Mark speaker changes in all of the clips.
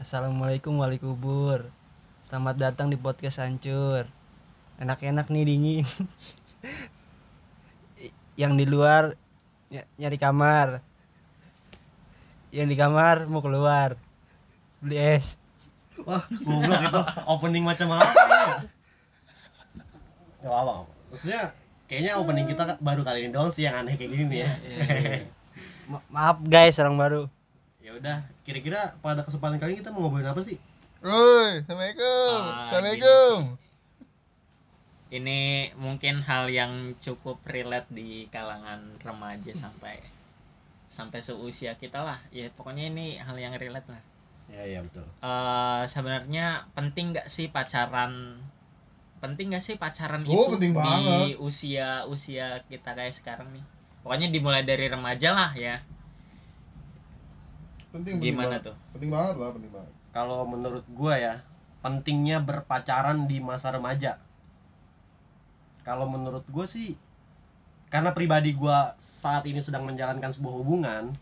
Speaker 1: Assalamualaikum walikubur Selamat datang di podcast hancur Enak-enak nih dingin I- Yang di luar ny- nyari kamar Yang di kamar mau keluar Beli es
Speaker 2: Wah, goblok itu opening macam apa ya? Gak apa-apa. Ya, Maksudnya kayaknya opening kita ka- baru kali ini doang sih yang aneh kayak gini nih ya.
Speaker 1: Ma- Maaf guys orang baru
Speaker 2: ya udah, kira-kira pada kesempatan kali ini kita mau ngobrolin apa sih?
Speaker 3: Woi, assalamualaikum.
Speaker 4: Ah,
Speaker 3: assalamualaikum.
Speaker 4: ini mungkin hal yang cukup relate di kalangan remaja sampai sampai seusia kita lah ya pokoknya ini hal yang relate lah
Speaker 2: Ya ya betul.
Speaker 4: Eh sebenarnya penting nggak sih pacaran penting nggak sih pacaran
Speaker 3: Oh,
Speaker 4: itu
Speaker 3: penting
Speaker 4: di
Speaker 3: banget.
Speaker 4: usia usia kita kayak sekarang nih pokoknya dimulai dari remaja lah ya
Speaker 3: Penting Iya, penting
Speaker 4: gimana
Speaker 3: banget.
Speaker 4: tuh
Speaker 3: Penting banget lah, penting banget.
Speaker 2: Kalau menurut gua ya, pentingnya berpacaran di masa remaja. Kalau menurut gua sih karena pribadi gua saat ini sedang menjalankan sebuah hubungan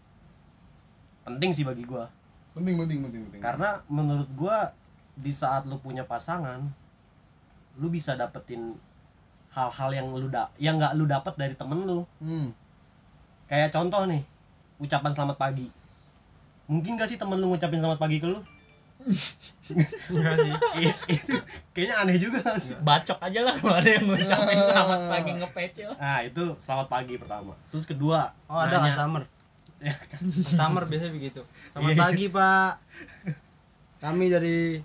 Speaker 2: penting sih bagi gua.
Speaker 3: Penting penting penting penting.
Speaker 2: karena menurut gua di saat lu punya pasangan lu bisa dapetin hal-hal yang lu da yang nggak lu dapat dari temen lu
Speaker 3: Hmm.
Speaker 2: kayak contoh nih ucapan selamat pagi mungkin gak sih temen lu ngucapin selamat pagi ke lu Iya, itu kayaknya aneh juga nggak
Speaker 5: Iya.
Speaker 2: sih
Speaker 4: bacok aja lah kalau ada yang ngucapin selamat pagi ngepecil
Speaker 2: nah itu selamat pagi pertama terus kedua
Speaker 1: Oh ada
Speaker 2: nanya.
Speaker 1: customer
Speaker 2: Ya,
Speaker 1: Customer kan? biasanya begitu Selamat
Speaker 2: Iya.
Speaker 1: pagi pak Kami dari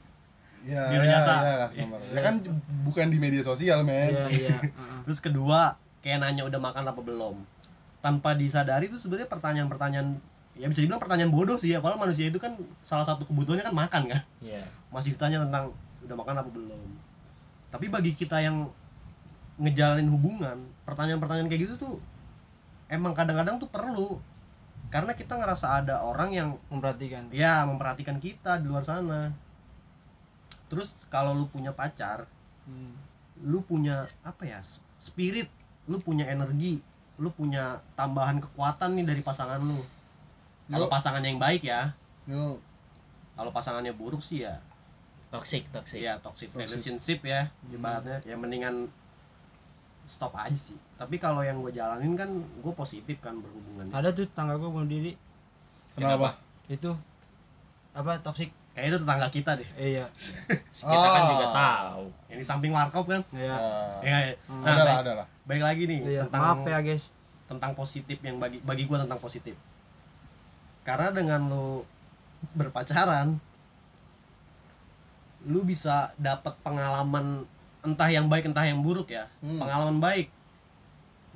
Speaker 3: Ya,
Speaker 2: Biro
Speaker 3: ya,
Speaker 2: jasa.
Speaker 3: ya, customer. ya kan bukan di media sosial,
Speaker 1: Iya
Speaker 3: men.
Speaker 1: iya heeh.
Speaker 2: Terus kedua, kayak nanya udah makan apa belum. Tanpa disadari itu sebenarnya pertanyaan-pertanyaan ya bisa dibilang pertanyaan bodoh sih ya. Padahal manusia itu kan salah satu kebutuhannya kan makan kan.
Speaker 4: Iya.
Speaker 2: Masih ditanya tentang udah makan apa belum. Tapi bagi kita yang ngejalanin hubungan, pertanyaan-pertanyaan kayak gitu tuh emang kadang-kadang tuh perlu. Karena kita ngerasa ada orang yang
Speaker 1: Memperhatikan
Speaker 2: ya memperhatikan kita di luar sana. Terus kalau lu punya pacar,
Speaker 1: Hmm.
Speaker 2: lu punya apa ya s- spirit lu punya energi lu punya tambahan kekuatan nih dari pasangan lu kalau
Speaker 3: Lu-
Speaker 2: pasangannya yang baik ya
Speaker 3: Yo,
Speaker 2: kalau pasangannya buruk sih ya
Speaker 4: toxic toxic
Speaker 3: Iya.
Speaker 2: ya toxic,
Speaker 3: Toxic.
Speaker 2: relationship ya ibaratnya ya mendingan stop aja sih tapi kalau yang gue jalanin kan gue positif kan berhubungan
Speaker 1: Ada tuh tetangga gue bunuh diri
Speaker 3: kenapa?
Speaker 1: itu apa toksik
Speaker 2: kayak itu tetangga kita deh
Speaker 1: eh, iya
Speaker 4: kita kan juga
Speaker 5: Oh.
Speaker 3: Ah.
Speaker 4: tahu
Speaker 2: yang di samping warkop kan
Speaker 1: iya
Speaker 3: Ah,
Speaker 2: ya, nah,
Speaker 3: ada lah,
Speaker 2: baik,
Speaker 3: ada lah.
Speaker 2: baik lagi nih
Speaker 1: iya
Speaker 2: tentang
Speaker 1: maaf eh, ya guys
Speaker 2: tentang positif yang bagi bagi gue tentang positif karena dengan lo berpacaran lu bisa dapat pengalaman entah yang baik entah yang buruk ya
Speaker 3: Hmm.
Speaker 2: pengalaman baik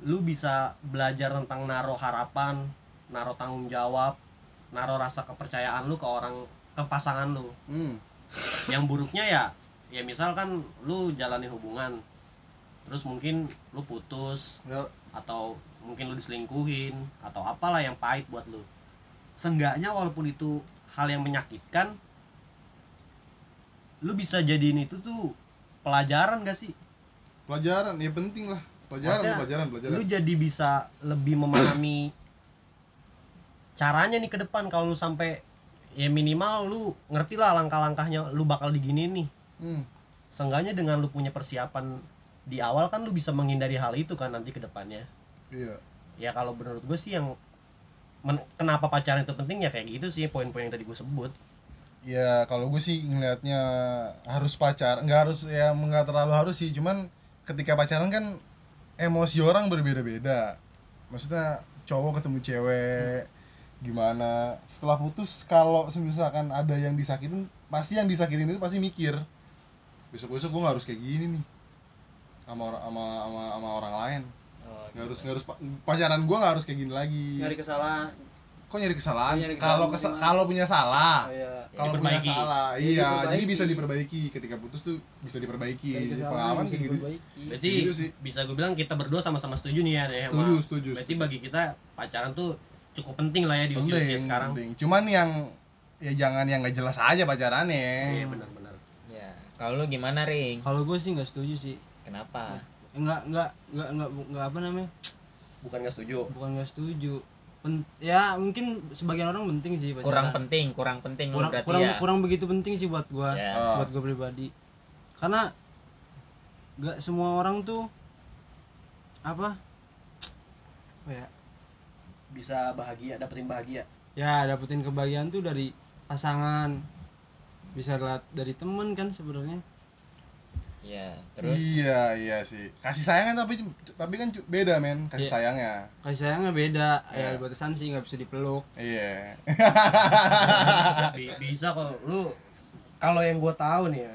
Speaker 2: lu bisa belajar tentang naruh harapan naruh tanggung jawab naruh rasa kepercayaan lu ke orang ke pasangan lu
Speaker 3: Hmm.
Speaker 2: yang buruknya ya ya misalkan lu jalanin hubungan terus mungkin lu putus
Speaker 3: Yo,
Speaker 2: atau mungkin lu diselingkuhin atau apalah yang pahit buat lu seenggaknya walaupun itu hal yang menyakitkan lu bisa jadiin itu tuh pelajaran gak sih
Speaker 3: pelajaran ya penting lah. Pelajaran,
Speaker 2: Maksudnya,
Speaker 3: pelajaran, pelajaran.
Speaker 2: lu jadi bisa lebih memahami caranya nih ke depan kalau lu sampai ya minimal lu ngerti lah langkah-langkahnya lu bakal digini nih
Speaker 3: Hmm.
Speaker 2: seenggaknya dengan lu punya persiapan di awal kan lu bisa menghindari hal itu kan nanti ke depannya
Speaker 3: Iya.
Speaker 2: ya kalau menurut gue sih yang men- kenapa pacaran itu penting ya kayak gitu sih poin-poin yang tadi gue sebut
Speaker 3: Ya kalau gue sih ngelihatnya harus pacar, nggak harus ya nggak terlalu harus sih, cuman ketika pacaran kan emosi orang berbeda-beda. Maksudnya cowok ketemu cewek gimana? Setelah putus kalau misalkan ada yang disakitin, pasti yang disakitin itu pasti mikir besok-besok gue nggak harus kayak gini nih sama orang sama sama, sama orang lain.
Speaker 1: Oh, gitu
Speaker 3: Nggak
Speaker 1: ya.
Speaker 3: harus nggak harus pa- pacaran gue nggak harus kayak gini lagi.
Speaker 1: kesalahan
Speaker 3: Kok nyari kesalahan?
Speaker 1: Nyari kesalahan,
Speaker 3: Kalau kesa-
Speaker 1: gimana?
Speaker 3: kalau punya salah
Speaker 1: iya
Speaker 3: kalau punya
Speaker 2: Diperbaiki.
Speaker 3: salah
Speaker 1: Jadi
Speaker 3: iya
Speaker 1: diperbaiki.
Speaker 3: jadi bisa diperbaiki ketika putus tuh bisa diperbaiki Jadi pengalaman kayak gitu
Speaker 2: berarti
Speaker 3: Gitu sih.
Speaker 2: bisa gue bilang kita berdua sama-sama setuju nih ya Neh, sama-
Speaker 3: Setuju, setuju,
Speaker 2: berarti
Speaker 3: setuju.
Speaker 2: bagi kita pacaran tuh cukup penting lah ya di usia,
Speaker 3: penting
Speaker 2: sekarang
Speaker 3: penting cuman yang ya jangan yang nggak jelas
Speaker 2: iya
Speaker 3: aja pacarannya
Speaker 2: benar-benar
Speaker 4: ya kalau lu gimana ring
Speaker 1: kalau gue sih nggak setuju sih
Speaker 4: kenapa
Speaker 1: Eh, nggak nggak nggak nggak nggak apa namanya
Speaker 2: bukan nggak setuju
Speaker 1: bukan nggak setuju Pen- ya mungkin sebagian orang penting sih pacaran.
Speaker 4: kurang penting kurang penting
Speaker 1: kurang
Speaker 4: berarti
Speaker 1: kurang,
Speaker 4: ya
Speaker 1: kurang begitu penting sih buat gua
Speaker 4: Ya.
Speaker 3: Ah.
Speaker 1: buat gua pribadi karena gak semua orang tuh apa apa ya
Speaker 2: bisa bahagia dapetin bahagia
Speaker 1: ya dapetin kebahagiaan tuh dari pasangan bisa lihat dari temen kan sebenarnya
Speaker 4: ya terus
Speaker 3: iya iya sih kasih sayangnya tapi tapi kan cu- beda men kasih
Speaker 1: Iya.
Speaker 3: sayangnya
Speaker 1: kasih sayangnya beda
Speaker 3: Ya.
Speaker 1: ya ada batasan sih nggak bisa dipeluk
Speaker 3: iya
Speaker 2: Bi- bisa kok lu kalau yang gue tahu nih ya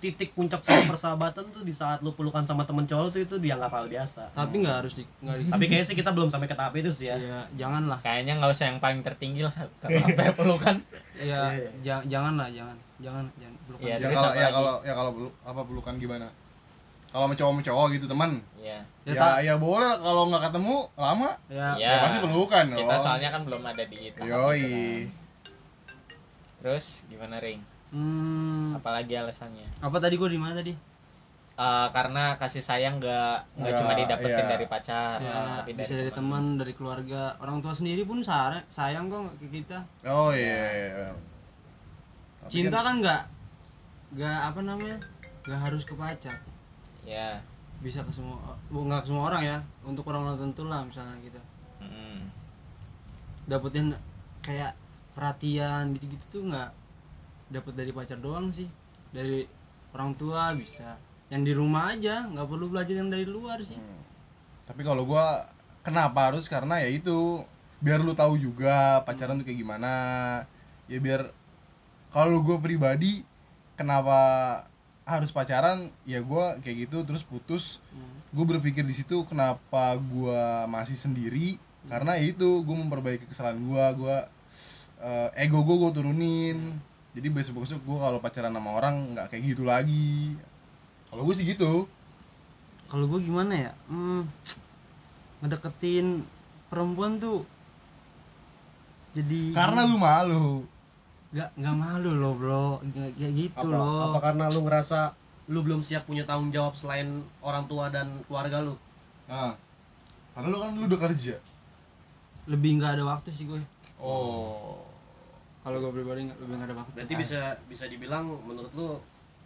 Speaker 2: titik puncak sebuah persahabatan tuh di saat lu pelukan sama temen cowok lu tuh itu dianggap hal biasa
Speaker 1: tapi nggak harus di nggak di
Speaker 2: tapi kayaknya sih kita belum sampai ke tahap itu
Speaker 3: Iya.
Speaker 2: sih ya
Speaker 1: ya janganlah
Speaker 4: kayaknya nggak usah yang paling tertinggi lah kalau apa yang pelukan
Speaker 1: ya ja- janganlah jangan jangan jangan pelukan.
Speaker 4: Iya.
Speaker 3: ya
Speaker 4: terus
Speaker 3: kalau
Speaker 4: apa
Speaker 3: ya
Speaker 4: lagi?
Speaker 3: kalau ya kalau pelu- apa pelukan gimana kalau sama cowok sama cowok gitu teman
Speaker 4: ya
Speaker 1: Ya,
Speaker 3: ya
Speaker 1: tak.
Speaker 3: ya boleh lah. kalau nggak ketemu lama
Speaker 1: ya,
Speaker 3: ya pasti pelukan dong
Speaker 4: kita soalnya kan belum ada di
Speaker 5: gitu
Speaker 4: tahap itu
Speaker 3: yoi
Speaker 4: kan. terus gimana ring
Speaker 1: Hmm,
Speaker 4: apalagi alasannya
Speaker 1: apa tadi gua di mana tadi
Speaker 4: Eh, karena kasih sayang nggak nggak cuma
Speaker 3: Nggak,
Speaker 4: didapetin
Speaker 3: iya.
Speaker 4: dari pacar
Speaker 5: Ah,
Speaker 1: ya
Speaker 4: tapi
Speaker 1: bisa dari teman dari keluarga orang tua sendiri pun sare- sayang kok ke kita
Speaker 3: oh iya, iya, iya. Tapi
Speaker 1: cinta kan nggak nggak apa namanya nggak harus ke pacar
Speaker 4: ya
Speaker 1: bisa ke semua bu, nggak ke semua orang ya untuk orang-orang tertentu lah misalnya gitu
Speaker 4: Mm.
Speaker 1: dapetin kayak perhatian gitu-gitu tuh nggak dapet dari pacar doang sih dari orang tua bisa yang di rumah aja nggak perlu belajar yang dari luar sih
Speaker 3: tapi kalau gua kenapa harus karena ya itu biar lu tahu juga pacaran tuh kayak gimana ya biar kalau gua pribadi kenapa harus pacaran ya gua kayak gitu terus putus gue berpikir di situ kenapa gua masih sendiri karena ya itu gue memperbaiki kesalahan gua gua eh, ego gue gue turunin jadi besok besok gue kalau pacaran sama orang nggak kayak gitu lagi kalau gue sih gitu
Speaker 1: kalau gue gimana ya hmm, ngedeketin perempuan tuh jadi
Speaker 3: karena lu malu
Speaker 1: nggak nggak malu loh bro Nggak- nggak gitu
Speaker 2: apa,
Speaker 1: loh
Speaker 2: apa karena lu ngerasa lu belum siap punya tanggung jawab selain orang tua dan keluarga lu
Speaker 3: Nah, padahal lu kan lu udah kerja.
Speaker 1: lebih nggak ada waktu sih gue
Speaker 3: Oh.
Speaker 1: kalau gue pribadi nggak- lebih nggak ada waktu
Speaker 2: berarti bisa bisa dibilang menurut lu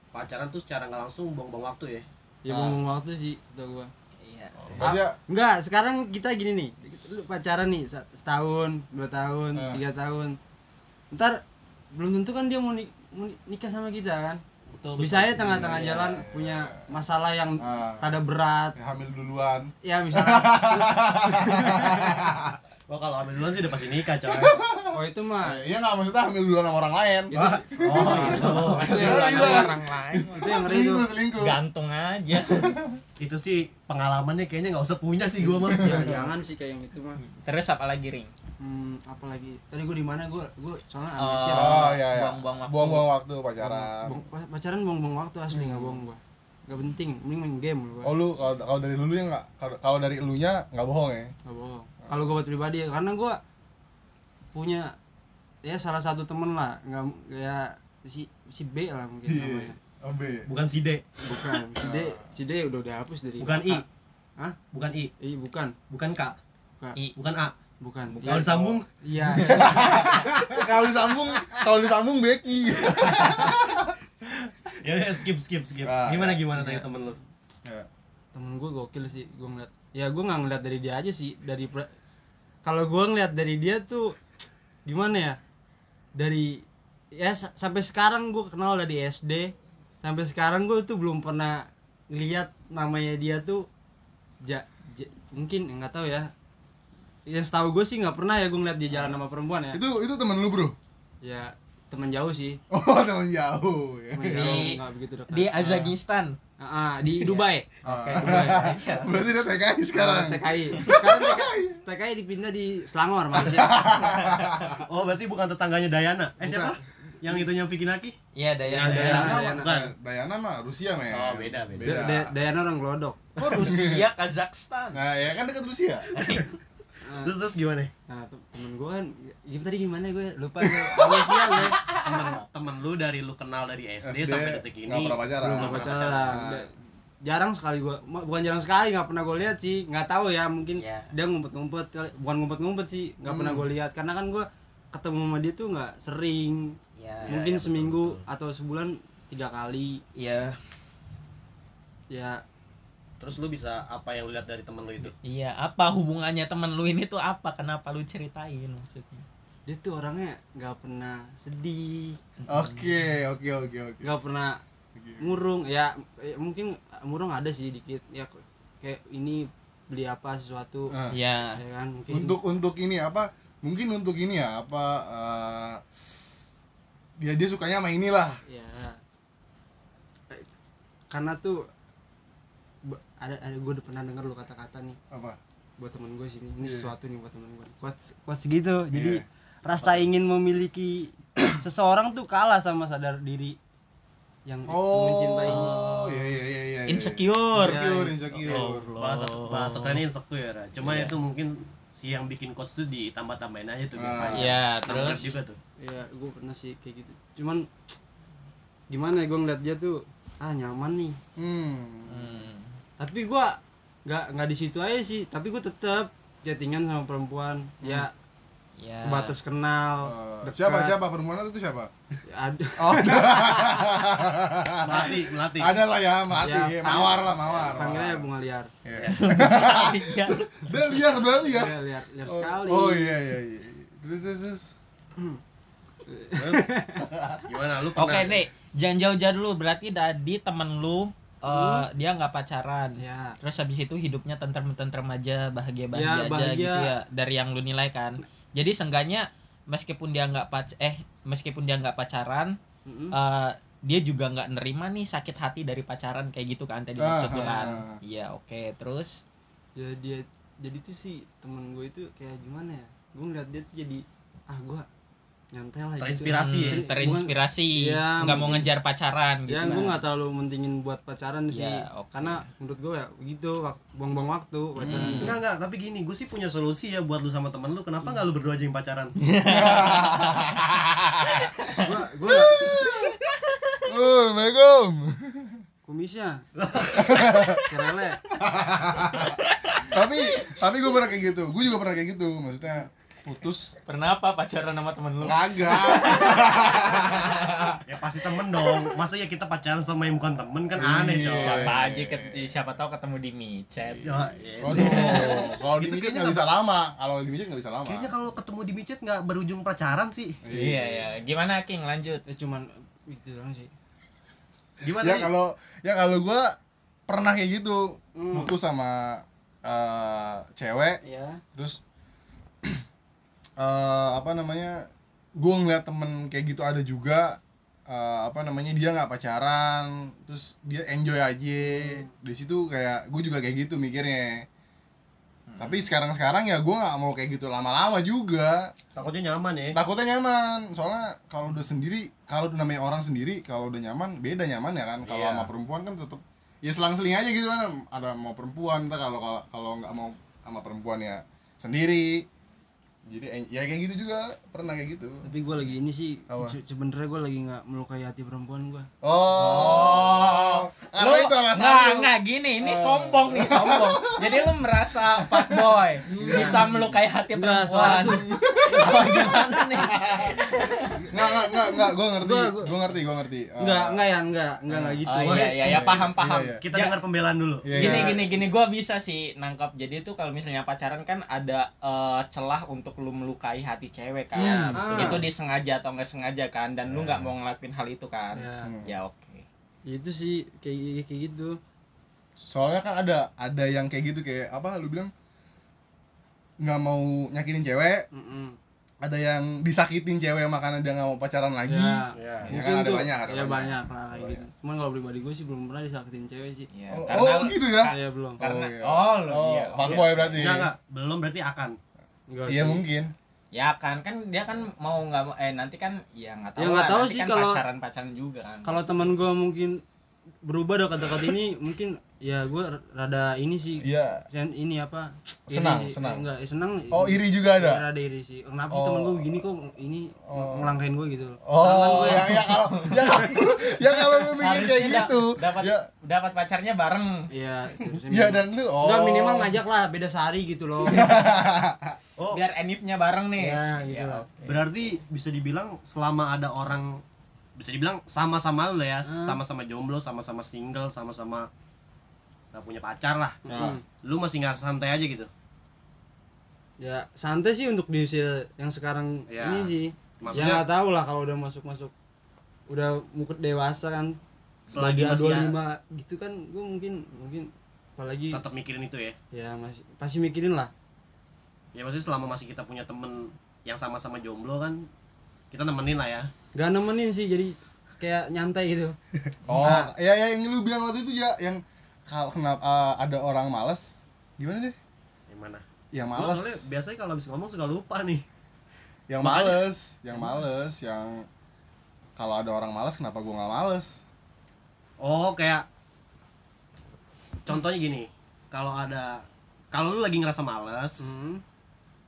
Speaker 2: pacaran tuh secara nggak langsung buang-buang waktu ya
Speaker 1: ya ngomong waktu sih kata gue
Speaker 4: Iya.
Speaker 3: Kerja.
Speaker 1: Enggak, sekarang kita gini nih. Lu pacaran nih sa- setahun, dua tahun,
Speaker 3: Ah.
Speaker 1: tiga tahun. Ntar belum tentu kan dia mau, ni- mau ni- nikah sama kita kan. bisa aja tengah-tengah jalan punya masalah yang
Speaker 3: Ah.
Speaker 1: rada berat.
Speaker 3: Ya, hamil duluan.
Speaker 1: Ya misalnya,
Speaker 2: Wah kalau ambil duluan sih udah pasti nikah coy
Speaker 1: oh itu mah
Speaker 3: Iya nggak maksudnya hamil duluan sama orang lain.
Speaker 1: itu,
Speaker 2: Oh itu
Speaker 1: itu yang
Speaker 3: Iya,
Speaker 4: Sama
Speaker 3: iya.
Speaker 4: orang lain
Speaker 1: itu yang ngeri
Speaker 3: selingkuh
Speaker 1: tuh.
Speaker 3: selingkuh.
Speaker 4: gantung aja
Speaker 2: Itu sih pengalamannya kayaknya nggak usah punya sih gua mah
Speaker 1: Ya, jangan sih kayak yang itu mah.
Speaker 4: terus apa lagi ring
Speaker 1: Hmm, apalagi tadi gue di mana gue gue soalnya
Speaker 4: Oh.
Speaker 1: amnesia.
Speaker 3: Oh iya iya.
Speaker 4: Buang-buang waktu.
Speaker 3: Buang-buang waktu pacaran.
Speaker 1: Bong- pa- pacaran buang-buang waktu asli nggak bohong gue. Gak penting, mending main game gue.
Speaker 3: Oh lu kalau kalau dari lu yang nggak kalau- kalau dari elunya nggak bohong ya.
Speaker 1: nggak bohong kalau gue buat pribadi ya, karena gue punya ya salah satu temen lah nggak ya si si B lah mungkin
Speaker 2: Iya.
Speaker 1: namanya
Speaker 3: Abe.
Speaker 2: Bukan si D
Speaker 1: bukan si D si D udah dihapus dari
Speaker 2: Bukan I
Speaker 1: Hah?
Speaker 2: Bukan I
Speaker 1: Ih, bukan
Speaker 2: Bukan K
Speaker 1: bukan
Speaker 4: I.
Speaker 2: Bukan A
Speaker 1: bukan
Speaker 2: Kalau disambung
Speaker 1: iya
Speaker 3: kalau disambung kalau disambung Becky.
Speaker 2: ya ya, skip skip skip
Speaker 3: Ah,
Speaker 2: Gimana gimana tanya temen lu
Speaker 3: Ya.
Speaker 1: temen gue gokil sih gue ngeliat ya gue nggak ngeliat dari dia aja sih dari pra- kalau gue ngeliat dari dia tuh gimana ya dari ya sa- sampai sekarang gue kenal dari SD sampai sekarang gue tuh belum pernah ngeliat namanya dia tuh ja, ja- mungkin nggak tahu ya yang setahu gue sih nggak pernah ya gue ngeliat dia jalan sama perempuan ya
Speaker 3: Itu itu temen lu bro.
Speaker 1: ya teman jauh sih
Speaker 3: Oh temen jauh. Ya.
Speaker 1: teman jauh nggak begitu dekat
Speaker 6: di Azagistan
Speaker 1: Ah, ah, di Dubai
Speaker 2: Oke
Speaker 3: Berarti dia TKI sekarang.
Speaker 1: TKI sekarang TKI, TKI dipindah di Selangor Malaysia
Speaker 2: Oh berarti bukan tetangganya Dayana Eh siapa? Yang itunya Vicky Naki?
Speaker 6: iya
Speaker 4: Ya,
Speaker 6: Dayana
Speaker 2: Yang Dayana.
Speaker 3: Dayana,
Speaker 2: Dayana.
Speaker 3: mah- Dayana mah Rusia men.
Speaker 2: Oh, beda, beda.
Speaker 3: Iya.
Speaker 1: Da- Da- Dayana orang Glodok.
Speaker 6: kok Rusia Kazakhstan
Speaker 3: Nah ya kan dekat Rusia.
Speaker 2: Terus terus gimana?
Speaker 1: Nah, tem- temen gue kan, ya, tadi gimana gue lupa gue Malaysia gue.
Speaker 5: Ah.
Speaker 2: Temen, temen lu dari lu kenal dari SD, sampai detik ini
Speaker 3: nggak pernah pacaran.
Speaker 1: Belum pernah pacaran. Da- jarang sekali gua ma- bukan jarang sekali nggak pernah gue lihat sih nggak tahu ya mungkin
Speaker 5: Iya.
Speaker 1: dia ngumpet-ngumpet kali- bukan ngumpet-ngumpet sih nggak pernah gue
Speaker 3: Hmm.
Speaker 1: lihat karena kan gua ketemu sama dia tuh nggak sering
Speaker 5: Iya,
Speaker 1: mungkin
Speaker 7: iya, betul,
Speaker 1: seminggu
Speaker 7: betul.
Speaker 1: atau sebulan tiga kali
Speaker 7: Iya.
Speaker 1: ya
Speaker 2: Terus lu bisa apa yang lu lihat dari temen lu itu?
Speaker 5: Iya, apa hubungannya temen lu ini tuh apa? Kenapa lu ceritain maksudnya?
Speaker 1: dia tuh orangnya nggak pernah sedih
Speaker 3: Oke, oke, oke, oke.
Speaker 1: nggak pernah ngurung ya eh, mungkin ngurung ada sih dikit ya kayak ini beli apa sesuatu
Speaker 3: Nah,
Speaker 5: Iya.
Speaker 1: ya kan mungkin
Speaker 3: untuk untuk ini apa? Mungkin untuk ini ya apa? eh, dia dia sukanya sama inilah.
Speaker 1: ya Eh, karena tuh be- ada ada gue udah pernah denger lo kata-kata nih
Speaker 3: Apa?
Speaker 1: buat temen gue sini ini
Speaker 3: Iya.
Speaker 1: sesuatu nih buat temen gue quotes quotes gitu jadi
Speaker 3: Iya.
Speaker 1: rasa ingin memiliki seseorang tuh kalah sama sadar diri yang mencintainya
Speaker 3: Oh, iya iya iya iya. iya.
Speaker 5: Insecure.
Speaker 3: Insecure, insecure.
Speaker 5: Allah.
Speaker 2: Bahasa bahasa kerennya insecure ya. Cuman
Speaker 5: Iya.
Speaker 2: itu mungkin si yang bikin coach tuh ditambah-tambahin aja tuh
Speaker 3: Ah.
Speaker 5: Iya,
Speaker 2: Tambah
Speaker 5: terus
Speaker 2: juga tuh.
Speaker 1: ya gue pernah sih kayak gitu cuman gimana ya gue ngeliat dia tuh ah nyaman nih
Speaker 3: Hmm.
Speaker 5: Hmm.
Speaker 1: tapi gue nggak nggak di situ aja sih tapi gue tetap chattingan sama perempuan ya
Speaker 5: Hmm, Ya.
Speaker 1: sebatas kenal
Speaker 3: Eh,
Speaker 1: dekat.
Speaker 3: siapa siapa perempuan itu siapa?
Speaker 1: Ya, ada
Speaker 3: Oh,
Speaker 2: Melati, melati.
Speaker 3: Ah. ada lah ya,
Speaker 1: Ya,
Speaker 3: melatih, mawar lah, mawar.
Speaker 1: panggilnya bunga liar
Speaker 3: Iya.
Speaker 5: Iya.
Speaker 3: Dia liar berarti ya.
Speaker 1: Bunga liar liar
Speaker 3: Oh,
Speaker 1: sekali
Speaker 3: Oh iya iya iya. Terus terus. terus.
Speaker 2: Gimana lu pernah?
Speaker 5: Oke nih, jangan jauh-jauh dulu. Berarti tadi temen lu eh, dia nggak pacaran.
Speaker 1: ya
Speaker 5: Terus habis itu hidupnya tentrem-tentrem aja,
Speaker 1: Ya,
Speaker 5: bahagia-bahagia aja
Speaker 1: bahagia.
Speaker 5: gitu ya dari yang lu nilai kan. Jadi seenggaknya meskipun dia nggak pac eh meskipun dia nggak pacaran,
Speaker 3: Hmm.
Speaker 1: Mm-mm.
Speaker 5: eh, dia juga nggak nerima nih sakit hati dari pacaran kayak gitu kan tadi maksud lu
Speaker 3: Ah,
Speaker 5: kan.
Speaker 3: ah, ah.
Speaker 5: Iya, oke. Terus
Speaker 1: jadi dia jadi tuh si temen gue itu kayak gimana ya gue ngeliat dia tuh jadi ah gue nyantai lah gitu.
Speaker 2: Terinspirasi ya?
Speaker 1: Ter-
Speaker 5: hmm, terinspirasi,
Speaker 1: Bukan- Iya,
Speaker 5: nggak mau
Speaker 1: mungkin.
Speaker 5: ngejar pacaran gitu.
Speaker 1: ya gue nggak terlalu mentingin buat pacaran sih
Speaker 5: Ya, oke.
Speaker 1: karena menurut gue ya gitu wak- buang-buang waktu pacaran
Speaker 5: Hmm.
Speaker 1: tuh.
Speaker 2: Enggak enggak, tapi gini, gue sih punya solusi ya buat lu sama temen lu. Kenapa nggak lu berdua aja yang pacaran?
Speaker 5: Iya.
Speaker 1: gue gue
Speaker 3: Oh, Assalamualaikum.
Speaker 1: kumisnya kerele
Speaker 3: tapi tapi gue pernah kayak gitu. Gue juga pernah kayak gitu. Maksudnya putus
Speaker 5: Pernah apa pacaran sama temen lu?
Speaker 3: kagak.
Speaker 2: ya pasti temen dong. Masa ya kita pacaran sama yang bukan temen kan aneh
Speaker 3: Iya.
Speaker 2: coy.
Speaker 5: Siapa aja ket- siapa tahu ketemu di micet.
Speaker 2: Ya, ya.
Speaker 3: Waduh, kalau di
Speaker 2: Itu
Speaker 3: mijit
Speaker 2: kayaknya
Speaker 3: nggak bisa lama. Kalau di mijit nggak bisa lama.
Speaker 2: Kayaknya kalau ketemu di micet nggak berujung pacaran sih.
Speaker 5: Iya ya. Gimana King lanjut?
Speaker 1: ya cuman itu doang sih
Speaker 2: Gimana
Speaker 3: ya
Speaker 2: nih?
Speaker 3: kalau ya kalau gue pernah kayak gitu putus sama eh, cewek
Speaker 1: ya
Speaker 3: terus eh, apa namanya gue ngeliat temen kayak gitu ada juga eh, apa namanya dia nggak pacaran terus dia enjoy aja di situ kayak gue juga kayak gitu mikirnya tapi sekarang sekarang ya gue nggak mau kayak gitu lama-lama juga
Speaker 2: Takutnya nyaman ya.
Speaker 3: takutnya nyaman soalnya kalau udah sendiri kalau udah namanya orang sendiri kalau udah nyaman beda nyaman ya kan kalau
Speaker 2: Iya.
Speaker 3: sama perempuan kan tetep ya selang-seling aja gitu kan ada mau perempuan entah kalau kalau kalau nggak mau sama perempuan ya sendiri jadi en- ya kayak gitu juga pernah kayak gitu
Speaker 1: tapi gue lagi ini sih
Speaker 3: Apa?
Speaker 1: se- sebenernya gue lagi nggak melukai hati perempuan gue
Speaker 3: oh, karena
Speaker 5: Lu-
Speaker 3: itu alasan
Speaker 5: nggak,
Speaker 3: lu. Eh.
Speaker 5: nggak, gini, ini sombong nih, sombong. Jadi lu merasa fuckboy,
Speaker 3: Iya.
Speaker 5: bisa melukai hati
Speaker 1: Nggak,
Speaker 5: perempuan.
Speaker 1: soalnya
Speaker 5: Apa gimana nih?
Speaker 3: nggak nggak nggak nggak gue ngerti
Speaker 1: Gua- gua-
Speaker 3: gue ngerti gue ngerti Eh,
Speaker 1: nggak nggak ya nggak nggak nggak gitu
Speaker 5: Oh iya iya ya paham paham.
Speaker 3: Iya,
Speaker 2: Kita dengar pembelaan dulu.
Speaker 3: iya,
Speaker 5: Gini
Speaker 3: iya.
Speaker 5: gini gini gua bisa sih nangkap. Jadi itu kalau misalnya pacaran kan ada eh, celah untuk lu melukai hati cewek kan.
Speaker 3: Iya,
Speaker 1: betul.
Speaker 5: Itu disengaja atau nggak sengaja kan dan lu nggak mau ngelakuin hal itu kan.
Speaker 3: Iya.
Speaker 1: Ya.
Speaker 5: Ya oke.
Speaker 1: Ya, itu sih kayak kayak gitu
Speaker 3: soalnya kan ada ada yang kayak gitu kayak apa lu bilang nggak mau nyakitin cewek
Speaker 1: Mm-mm.
Speaker 3: ada yang disakitin cewek makanya dia nggak mau pacaran lagi
Speaker 1: Ya.
Speaker 2: Ya.
Speaker 3: ya
Speaker 1: Mungkin
Speaker 3: kan ada
Speaker 1: tuh-
Speaker 3: banyak ada
Speaker 1: ya banyak lah kayak gitu cuman kalau pribadi gue sih belum pernah disakitin cewek sih
Speaker 5: Ya,
Speaker 3: Oh,
Speaker 5: karena
Speaker 3: oh, gitu ya?
Speaker 1: saya belum
Speaker 5: karena
Speaker 3: Oh, iya.
Speaker 5: oh, lu
Speaker 3: oh
Speaker 5: iya.
Speaker 3: fuckboy berarti
Speaker 2: Enggak, enggak. Nah, Belum berarti akan.
Speaker 1: Nggak
Speaker 3: iya
Speaker 1: sih.
Speaker 3: mungkin
Speaker 5: Ya kan kan dia kan mau nggak mau eh nanti kan ya nggak tahu.
Speaker 1: Ya, nggak
Speaker 5: lah,
Speaker 1: tahu
Speaker 5: nanti
Speaker 1: sih
Speaker 5: kan
Speaker 1: kalau-
Speaker 5: pacaran-pacaran juga kan.
Speaker 1: kalau teman gue mungkin berubah dekat-dekat ini mungkin ya gue rada ini sih
Speaker 3: Iya.
Speaker 1: sen- ini apa iri
Speaker 3: Senang,
Speaker 1: sih.
Speaker 3: senang.
Speaker 1: enggak eh, senang
Speaker 3: Oh, iri juga ada?
Speaker 1: rada iri sih kenapa sih
Speaker 3: Oh.
Speaker 1: temen gue gini kok ini ngelangkain gue gitu
Speaker 3: Oh, yang ya kalau ya, ya kalau lu mikir
Speaker 4: Harusnya
Speaker 3: kayak
Speaker 4: da-
Speaker 3: gitu.
Speaker 4: dapat
Speaker 3: Ya,
Speaker 4: dapat pacarnya bareng
Speaker 1: Iya, terusnya
Speaker 3: ya
Speaker 1: minimal-
Speaker 3: dan lu oh. Iya.
Speaker 1: Enggak minimal ngajak lah beda sehari gitu loh.
Speaker 2: Oh.
Speaker 4: biar enifnya bareng nih
Speaker 5: Iya,
Speaker 1: ya, gitu
Speaker 4: Ya,
Speaker 1: loh.
Speaker 2: Berarti bisa dibilang selama ada orang bisa dibilang sama-sama lu lah ya, sama-sama jomblo, sama-sama single, sama-sama nggak punya pacar lah. Hmm.
Speaker 3: Nah.
Speaker 2: Lu masih nggak santai aja gitu.
Speaker 1: Ya, santai sih untuk di usia yang sekarang
Speaker 2: Ya.
Speaker 1: ini sih. ya
Speaker 2: Maksudnya-
Speaker 1: nggak tahu lah kalau udah masuk-masuk udah mukut dewasa kan
Speaker 2: Selagi
Speaker 1: udah
Speaker 2: masih ya.
Speaker 1: 25 gitu kan gue mungkin mungkin apalagi
Speaker 2: Tetap mikirin itu ya.
Speaker 1: ya masih pasti mikirin lah
Speaker 2: Ya maksudnya selama masih kita punya temen yang sama-sama jomblo kan kita nemenin lah ya.
Speaker 1: gak nemenin sih jadi kayak nyantai gitu
Speaker 3: Oh, ya ya yang lu bilang waktu itu ya yang kalau kenapa eh, ada orang males gimana deh?
Speaker 2: Yang mana?
Speaker 3: Yang
Speaker 2: Gua
Speaker 3: males,
Speaker 2: soalnya biasanya kalau habis ngomong suka lupa nih.
Speaker 3: yang males, yang males, yang kalau ada orang males kenapa gua nggak males?
Speaker 2: Oh, kayak contohnya gini. Kalau ada kalau lu lagi ngerasa males,
Speaker 1: Hmm.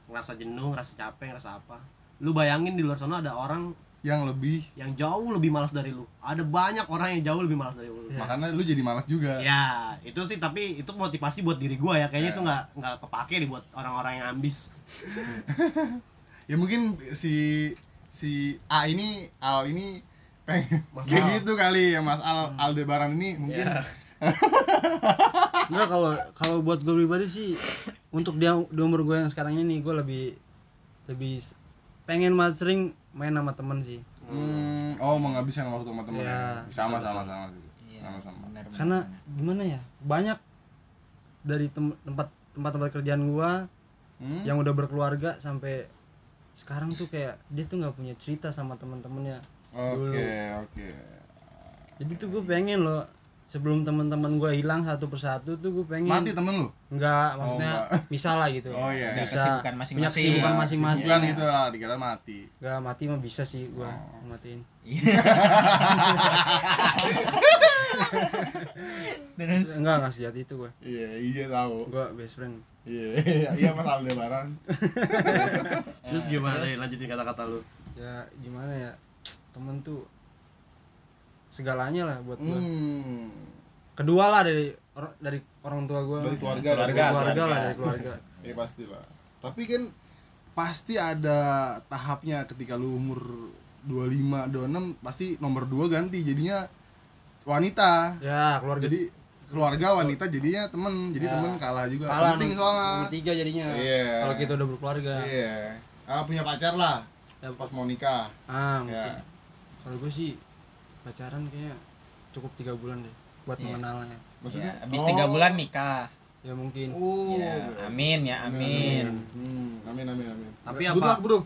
Speaker 2: ngerasa jenuh, ngerasa capek, ngerasa apa. Lu bayangin di luar sana ada orang
Speaker 3: Yang lebih
Speaker 2: yang jauh lebih malas dari lu. Ada banyak orang yang jauh lebih malas dari lu. Ya,
Speaker 3: makanya lu jadi males juga.
Speaker 2: Iya. itu sih tapi itu motivasi buat diri gua ya. Kayaknya itu nggak nggak kepake nih buat orang-orang yang ambis.
Speaker 3: Ya mungkin si si A ini Al ini pengen kayak gitu kali ya Mas Al Aldebaran ini mungkin
Speaker 1: Enggak kalau kalau buat gue pribadi sih untuk dia di umur gue yang sekarang ini gue lebih lebih s- pengen banget sering main sama temen sih
Speaker 3: Hmm, oh menghabiskan waktu sama temen
Speaker 1: Iya.
Speaker 3: sama sama sama sih.
Speaker 4: Iya,
Speaker 3: Sama sama.
Speaker 4: benar, benar.
Speaker 1: karena gimana ya banyak dari tem- tempat tempat tempat kerjaan gue
Speaker 3: Hmm?
Speaker 1: yang udah berkeluarga sampai sekarang tuh kayak dia tuh nggak punya cerita sama temen-temennya
Speaker 3: Oke, oke.
Speaker 1: jadi tuh gue pengen loh sebelum teman-teman gue hilang satu persatu tuh gue pengen
Speaker 3: Mati temen lu?
Speaker 1: Enggak, maksudnya
Speaker 3: enggak.
Speaker 1: misal lah gitu.
Speaker 3: Oh, iya.
Speaker 1: Bisa
Speaker 4: Kesibukan masing-masing.
Speaker 1: punya kesibukan
Speaker 4: Iya,
Speaker 1: masing-masing.
Speaker 3: Bukan gitu lah, dikira mati.
Speaker 1: Enggak mati mah bisa sih gua
Speaker 3: Oh.
Speaker 1: matiin.
Speaker 4: terus
Speaker 1: Enggak, enggak sejati itu gua.
Speaker 3: Iya, iya tahu.
Speaker 1: Gua best friend.
Speaker 3: Iya, iya, iya Mas Aldebaran.
Speaker 2: Terus gimana? Ray? Lanjutin kata-kata lu.
Speaker 1: Ya gimana ya? Temen tuh segalanya lah buat gua.
Speaker 3: Hmm.
Speaker 1: Kedua lah dari or- dari orang tua gua.
Speaker 3: Dari keluarga,
Speaker 1: dari
Speaker 3: dari
Speaker 1: keluarga,
Speaker 3: keluarga.
Speaker 1: lah dari keluarga.
Speaker 3: Ya pasti lah. Tapi kan pasti ada tahapnya ketika lu umur 25, 26 pasti nomor 2 ganti jadinya wanita.
Speaker 1: ya, keluarga.
Speaker 3: Jadi keluarga wanita jadinya temen jadi temen kalah juga
Speaker 1: kalah
Speaker 3: penting
Speaker 1: nomor- nomor
Speaker 3: soalnya
Speaker 1: tiga jadinya.
Speaker 3: Iya.
Speaker 1: Kalau kita udah berkeluarga.
Speaker 3: Iya. Ah, punya pacar lah.
Speaker 1: Ya,
Speaker 3: Pas mau nikah.
Speaker 1: Ah, mungkin.
Speaker 3: Ya.
Speaker 1: Kalau gua sih pacaran kayaknya cukup tiga bulan deh buat
Speaker 3: Iya.
Speaker 1: mengenalnya.
Speaker 5: Iya,
Speaker 3: Maksudnya
Speaker 4: ya, habis
Speaker 3: Oh.
Speaker 4: tiga bulan nikah
Speaker 1: Ya mungkin.
Speaker 3: Oh.
Speaker 4: ya, amin ya amin
Speaker 3: Hmm, amin amin amin.
Speaker 2: Tapi
Speaker 3: Good
Speaker 2: apa-
Speaker 3: luck, Bro.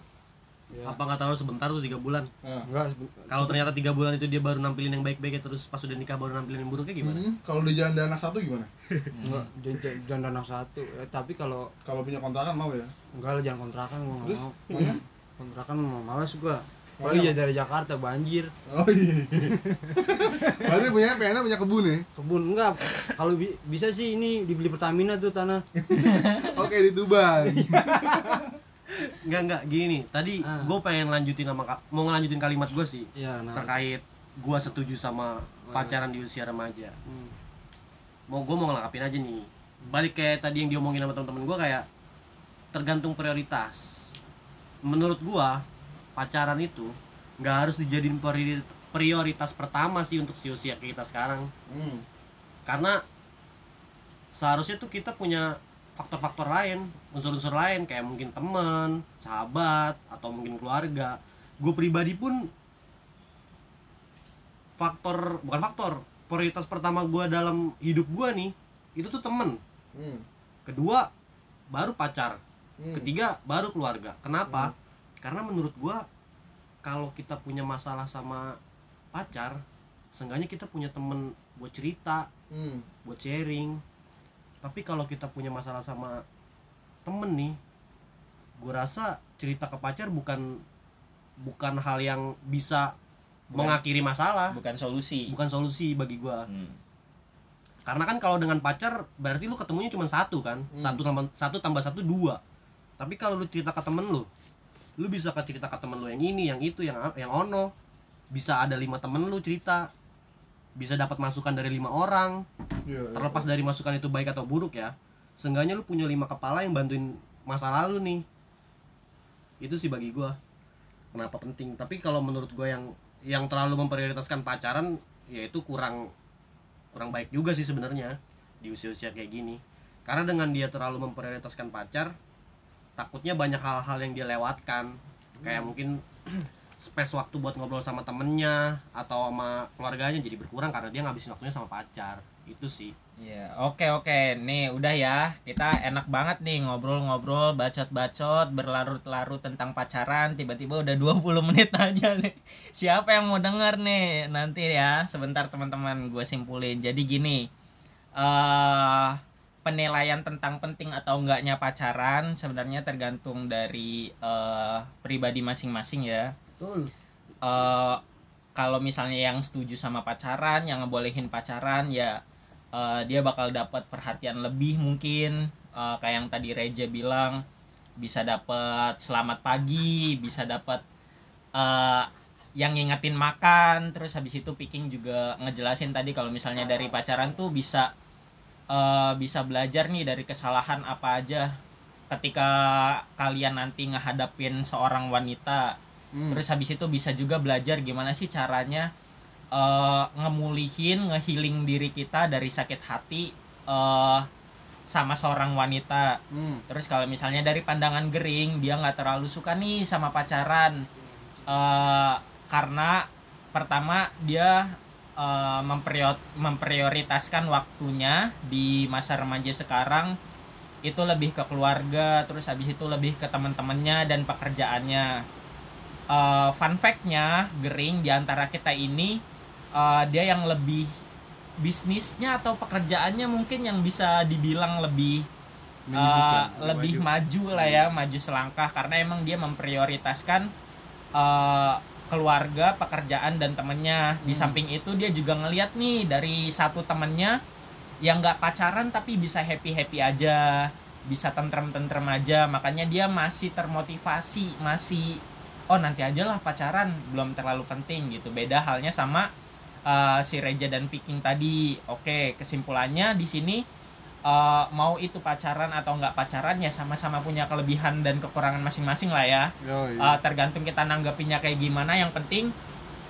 Speaker 2: Apa nggak tahu sebentar tuh tiga bulan?
Speaker 3: Nah.
Speaker 1: Enggak, sebe-
Speaker 2: Kalau ternyata tiga bulan itu dia baru nampilin yang baik-baiknya terus pas udah nikah baru nampilin yang buruknya gimana?
Speaker 3: Hmm, kalau udah jalan anak satu gimana?
Speaker 1: enggak j- j- jangan anak satu. Ya, tapi kalau
Speaker 3: Kalau punya kontrakan mau ya?
Speaker 1: enggak lah jangan kontrakan gua nggak
Speaker 3: Terus ya?
Speaker 1: mau.
Speaker 3: maunya?
Speaker 1: Kontrakan mau males gua. Oh iya dari Jakarta banjir.
Speaker 3: Oh iya. Berarti punya PNA punya kebun ya.
Speaker 1: Kebun enggak. Kalau bi- bisa sih ini dibeli Pertamina tuh tanah.
Speaker 3: Oke di Tuban.
Speaker 2: Enggak enggak gini. Tadi
Speaker 1: Ah.
Speaker 2: gue pengen lanjutin sama ka- mau ngelanjutin kalimat gue sih
Speaker 1: Iya, nah.
Speaker 2: terkait gue setuju sama pacaran di usia remaja.
Speaker 1: Hmm.
Speaker 2: mau gue mau ngelengkapin aja nih balik kayak tadi yang diomongin sama temen-temen gue kayak tergantung prioritas menurut gue pacaran itu nggak harus dijadiin priori- prioritas pertama sih untuk si usia kayak kita sekarang
Speaker 3: Hmm.
Speaker 2: karena seharusnya tuh kita punya faktor-faktor lain unsur-unsur lain kayak mungkin teman sahabat atau mungkin keluarga gue pribadi pun faktor bukan faktor prioritas pertama gue dalam hidup gue nih itu tuh temen
Speaker 3: Hmm.
Speaker 2: kedua baru pacar
Speaker 3: Hmm.
Speaker 2: ketiga baru keluarga kenapa karena menurut gua kalau kita punya masalah sama pacar seenggaknya kita punya temen buat cerita
Speaker 3: Hmm.
Speaker 2: buat sharing tapi kalau kita punya masalah sama temen nih gua rasa cerita ke pacar bukan bukan hal yang bisa mengakhiri masalah
Speaker 5: bukan solusi
Speaker 2: bukan solusi bagi gua
Speaker 5: Hmm.
Speaker 2: karena kan kalau dengan pacar berarti lu ketemunya cuma satu kan satu tambah satu tambah satu dua tapi kalau lu cerita ke temen lu lu bisa ke cerita ke temen lu yang ini yang itu yang yang ono bisa ada lima temen lu cerita bisa dapat masukan dari lima orang
Speaker 3: Iya, iya.
Speaker 2: terlepas dari masukan itu baik atau buruk ya seenggaknya lu punya lima kepala yang bantuin masa lalu nih itu sih bagi gua kenapa penting tapi kalau menurut gua yang yang terlalu memprioritaskan pacaran ya itu kurang kurang baik juga sih sebenarnya di usia-usia kayak gini karena dengan dia terlalu memprioritaskan pacar takutnya banyak hal-hal yang dia lewatkan kayak mungkin space waktu buat ngobrol sama temennya atau sama keluarganya jadi berkurang karena dia ngabisin waktunya sama pacar itu sih
Speaker 5: Iya, oke oke. Nih udah ya. Kita enak banget nih ngobrol-ngobrol, bacot-bacot, berlarut-larut tentang pacaran. Tiba-tiba udah 20 menit aja nih. Siapa yang mau denger nih? Nanti ya, sebentar teman-teman gue simpulin. Jadi gini. Eh penilaian tentang penting atau enggaknya pacaran sebenarnya tergantung dari eh pribadi masing-masing ya. Eh, kalau misalnya yang setuju sama pacaran, yang ngebolehin pacaran ya eh, dia bakal dapat perhatian lebih mungkin Eh, kayak yang tadi Reja bilang bisa dapat selamat pagi, bisa dapat eh, yang ngingetin makan, terus habis itu picking juga ngejelasin tadi kalau misalnya dari pacaran tuh bisa eh, bisa belajar nih dari kesalahan apa aja ketika kalian nanti ngehadapin seorang wanita
Speaker 3: Hmm,
Speaker 5: Terus habis itu bisa juga belajar gimana sih caranya eh, ngemulihin, ngehealing diri kita dari sakit hati eh, sama seorang wanita.
Speaker 3: hmm.
Speaker 5: Terus kalau misalnya dari pandangan Gering dia nggak terlalu suka nih sama pacaran Eh, karena pertama dia eh, memprior- memprioritaskan waktunya di masa remaja sekarang itu lebih ke keluarga terus habis itu lebih ke teman-temannya dan pekerjaannya eh fun fact-nya Gering di antara kita ini eh, dia yang lebih bisnisnya atau pekerjaannya mungkin yang bisa dibilang lebih eh, lebih maju lah ya, maju selangkah karena emang dia memprioritaskan eh, keluarga, pekerjaan dan temennya. Di samping itu dia juga ngeliat nih dari satu temennya yang nggak pacaran tapi bisa happy happy aja, bisa tentrem-tentrem aja. Makanya dia masih termotivasi, masih oh nanti aja lah pacaran belum terlalu penting gitu beda halnya sama uh, si Reja dan Piking tadi oke kesimpulannya di sini uh, mau itu pacaran atau nggak pacaran ya sama-sama punya kelebihan dan kekurangan masing-masing lah ya
Speaker 3: Yoi.
Speaker 5: Uh, tergantung kita nanggapinnya kayak gimana yang penting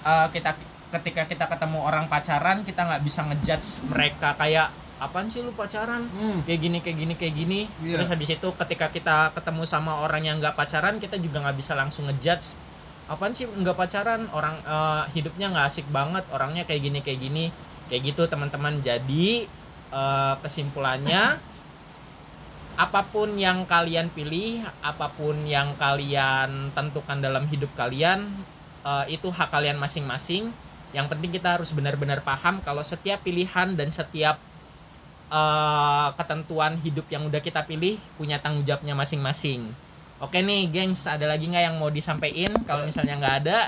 Speaker 5: uh, kita ketika kita ketemu orang pacaran kita nggak bisa ngejudge mereka kayak apaan sih lu pacaran
Speaker 3: Hmm.
Speaker 5: kayak gini kayak gini kayak gini
Speaker 3: Iya.
Speaker 5: terus habis itu ketika kita ketemu sama orang yang nggak pacaran kita juga nggak bisa langsung ngejudge apaan sih nggak pacaran orang eh, hidupnya nggak asik banget orangnya kayak gini kayak gini kayak gitu teman-teman jadi eh, kesimpulannya apapun yang kalian pilih apapun yang kalian tentukan dalam hidup kalian eh, itu hak kalian masing-masing yang penting kita harus benar-benar paham kalau setiap pilihan dan setiap eh, ketentuan hidup yang udah kita pilih punya tanggung jawabnya masing-masing. Oke nih, gengs, ada lagi nggak yang mau disampaikan? Kalau misalnya nggak ada,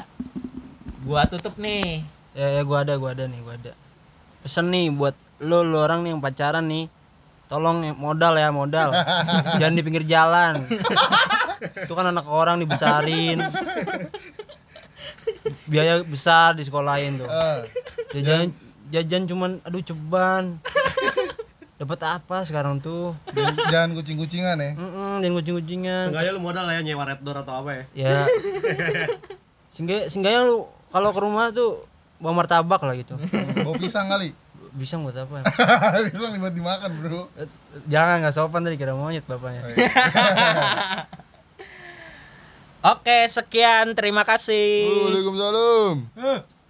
Speaker 5: gua tutup nih.
Speaker 1: ya, ya gua ada gua ada nih gua ada pesen nih buat lo lo orang nih yang pacaran nih tolong ya, modal ya modal jangan di pinggir jalan itu kan anak orang dibesarin biaya besar di sekolahin tuh
Speaker 3: Eh,
Speaker 1: jajan jajan cuman aduh ceban dapat apa sekarang tuh
Speaker 3: jangan kucing-kucingan ya.
Speaker 1: Mm-mm, jangan kucing-kucingan
Speaker 2: Seenggaknya lu modal lah ya nyewa red door atau apa ya
Speaker 1: ya sehingga sehingga lu kalau ke rumah tuh bawa martabak lah gitu
Speaker 3: Bawa pisang kali.
Speaker 1: bisa buat apa
Speaker 3: pisang buat dimakan, Bro.
Speaker 1: Eh, jangan nggak sopan tadi kira monyet bapaknya
Speaker 5: Oke, sekian. Terima kasih.
Speaker 3: Waalaikumsalam.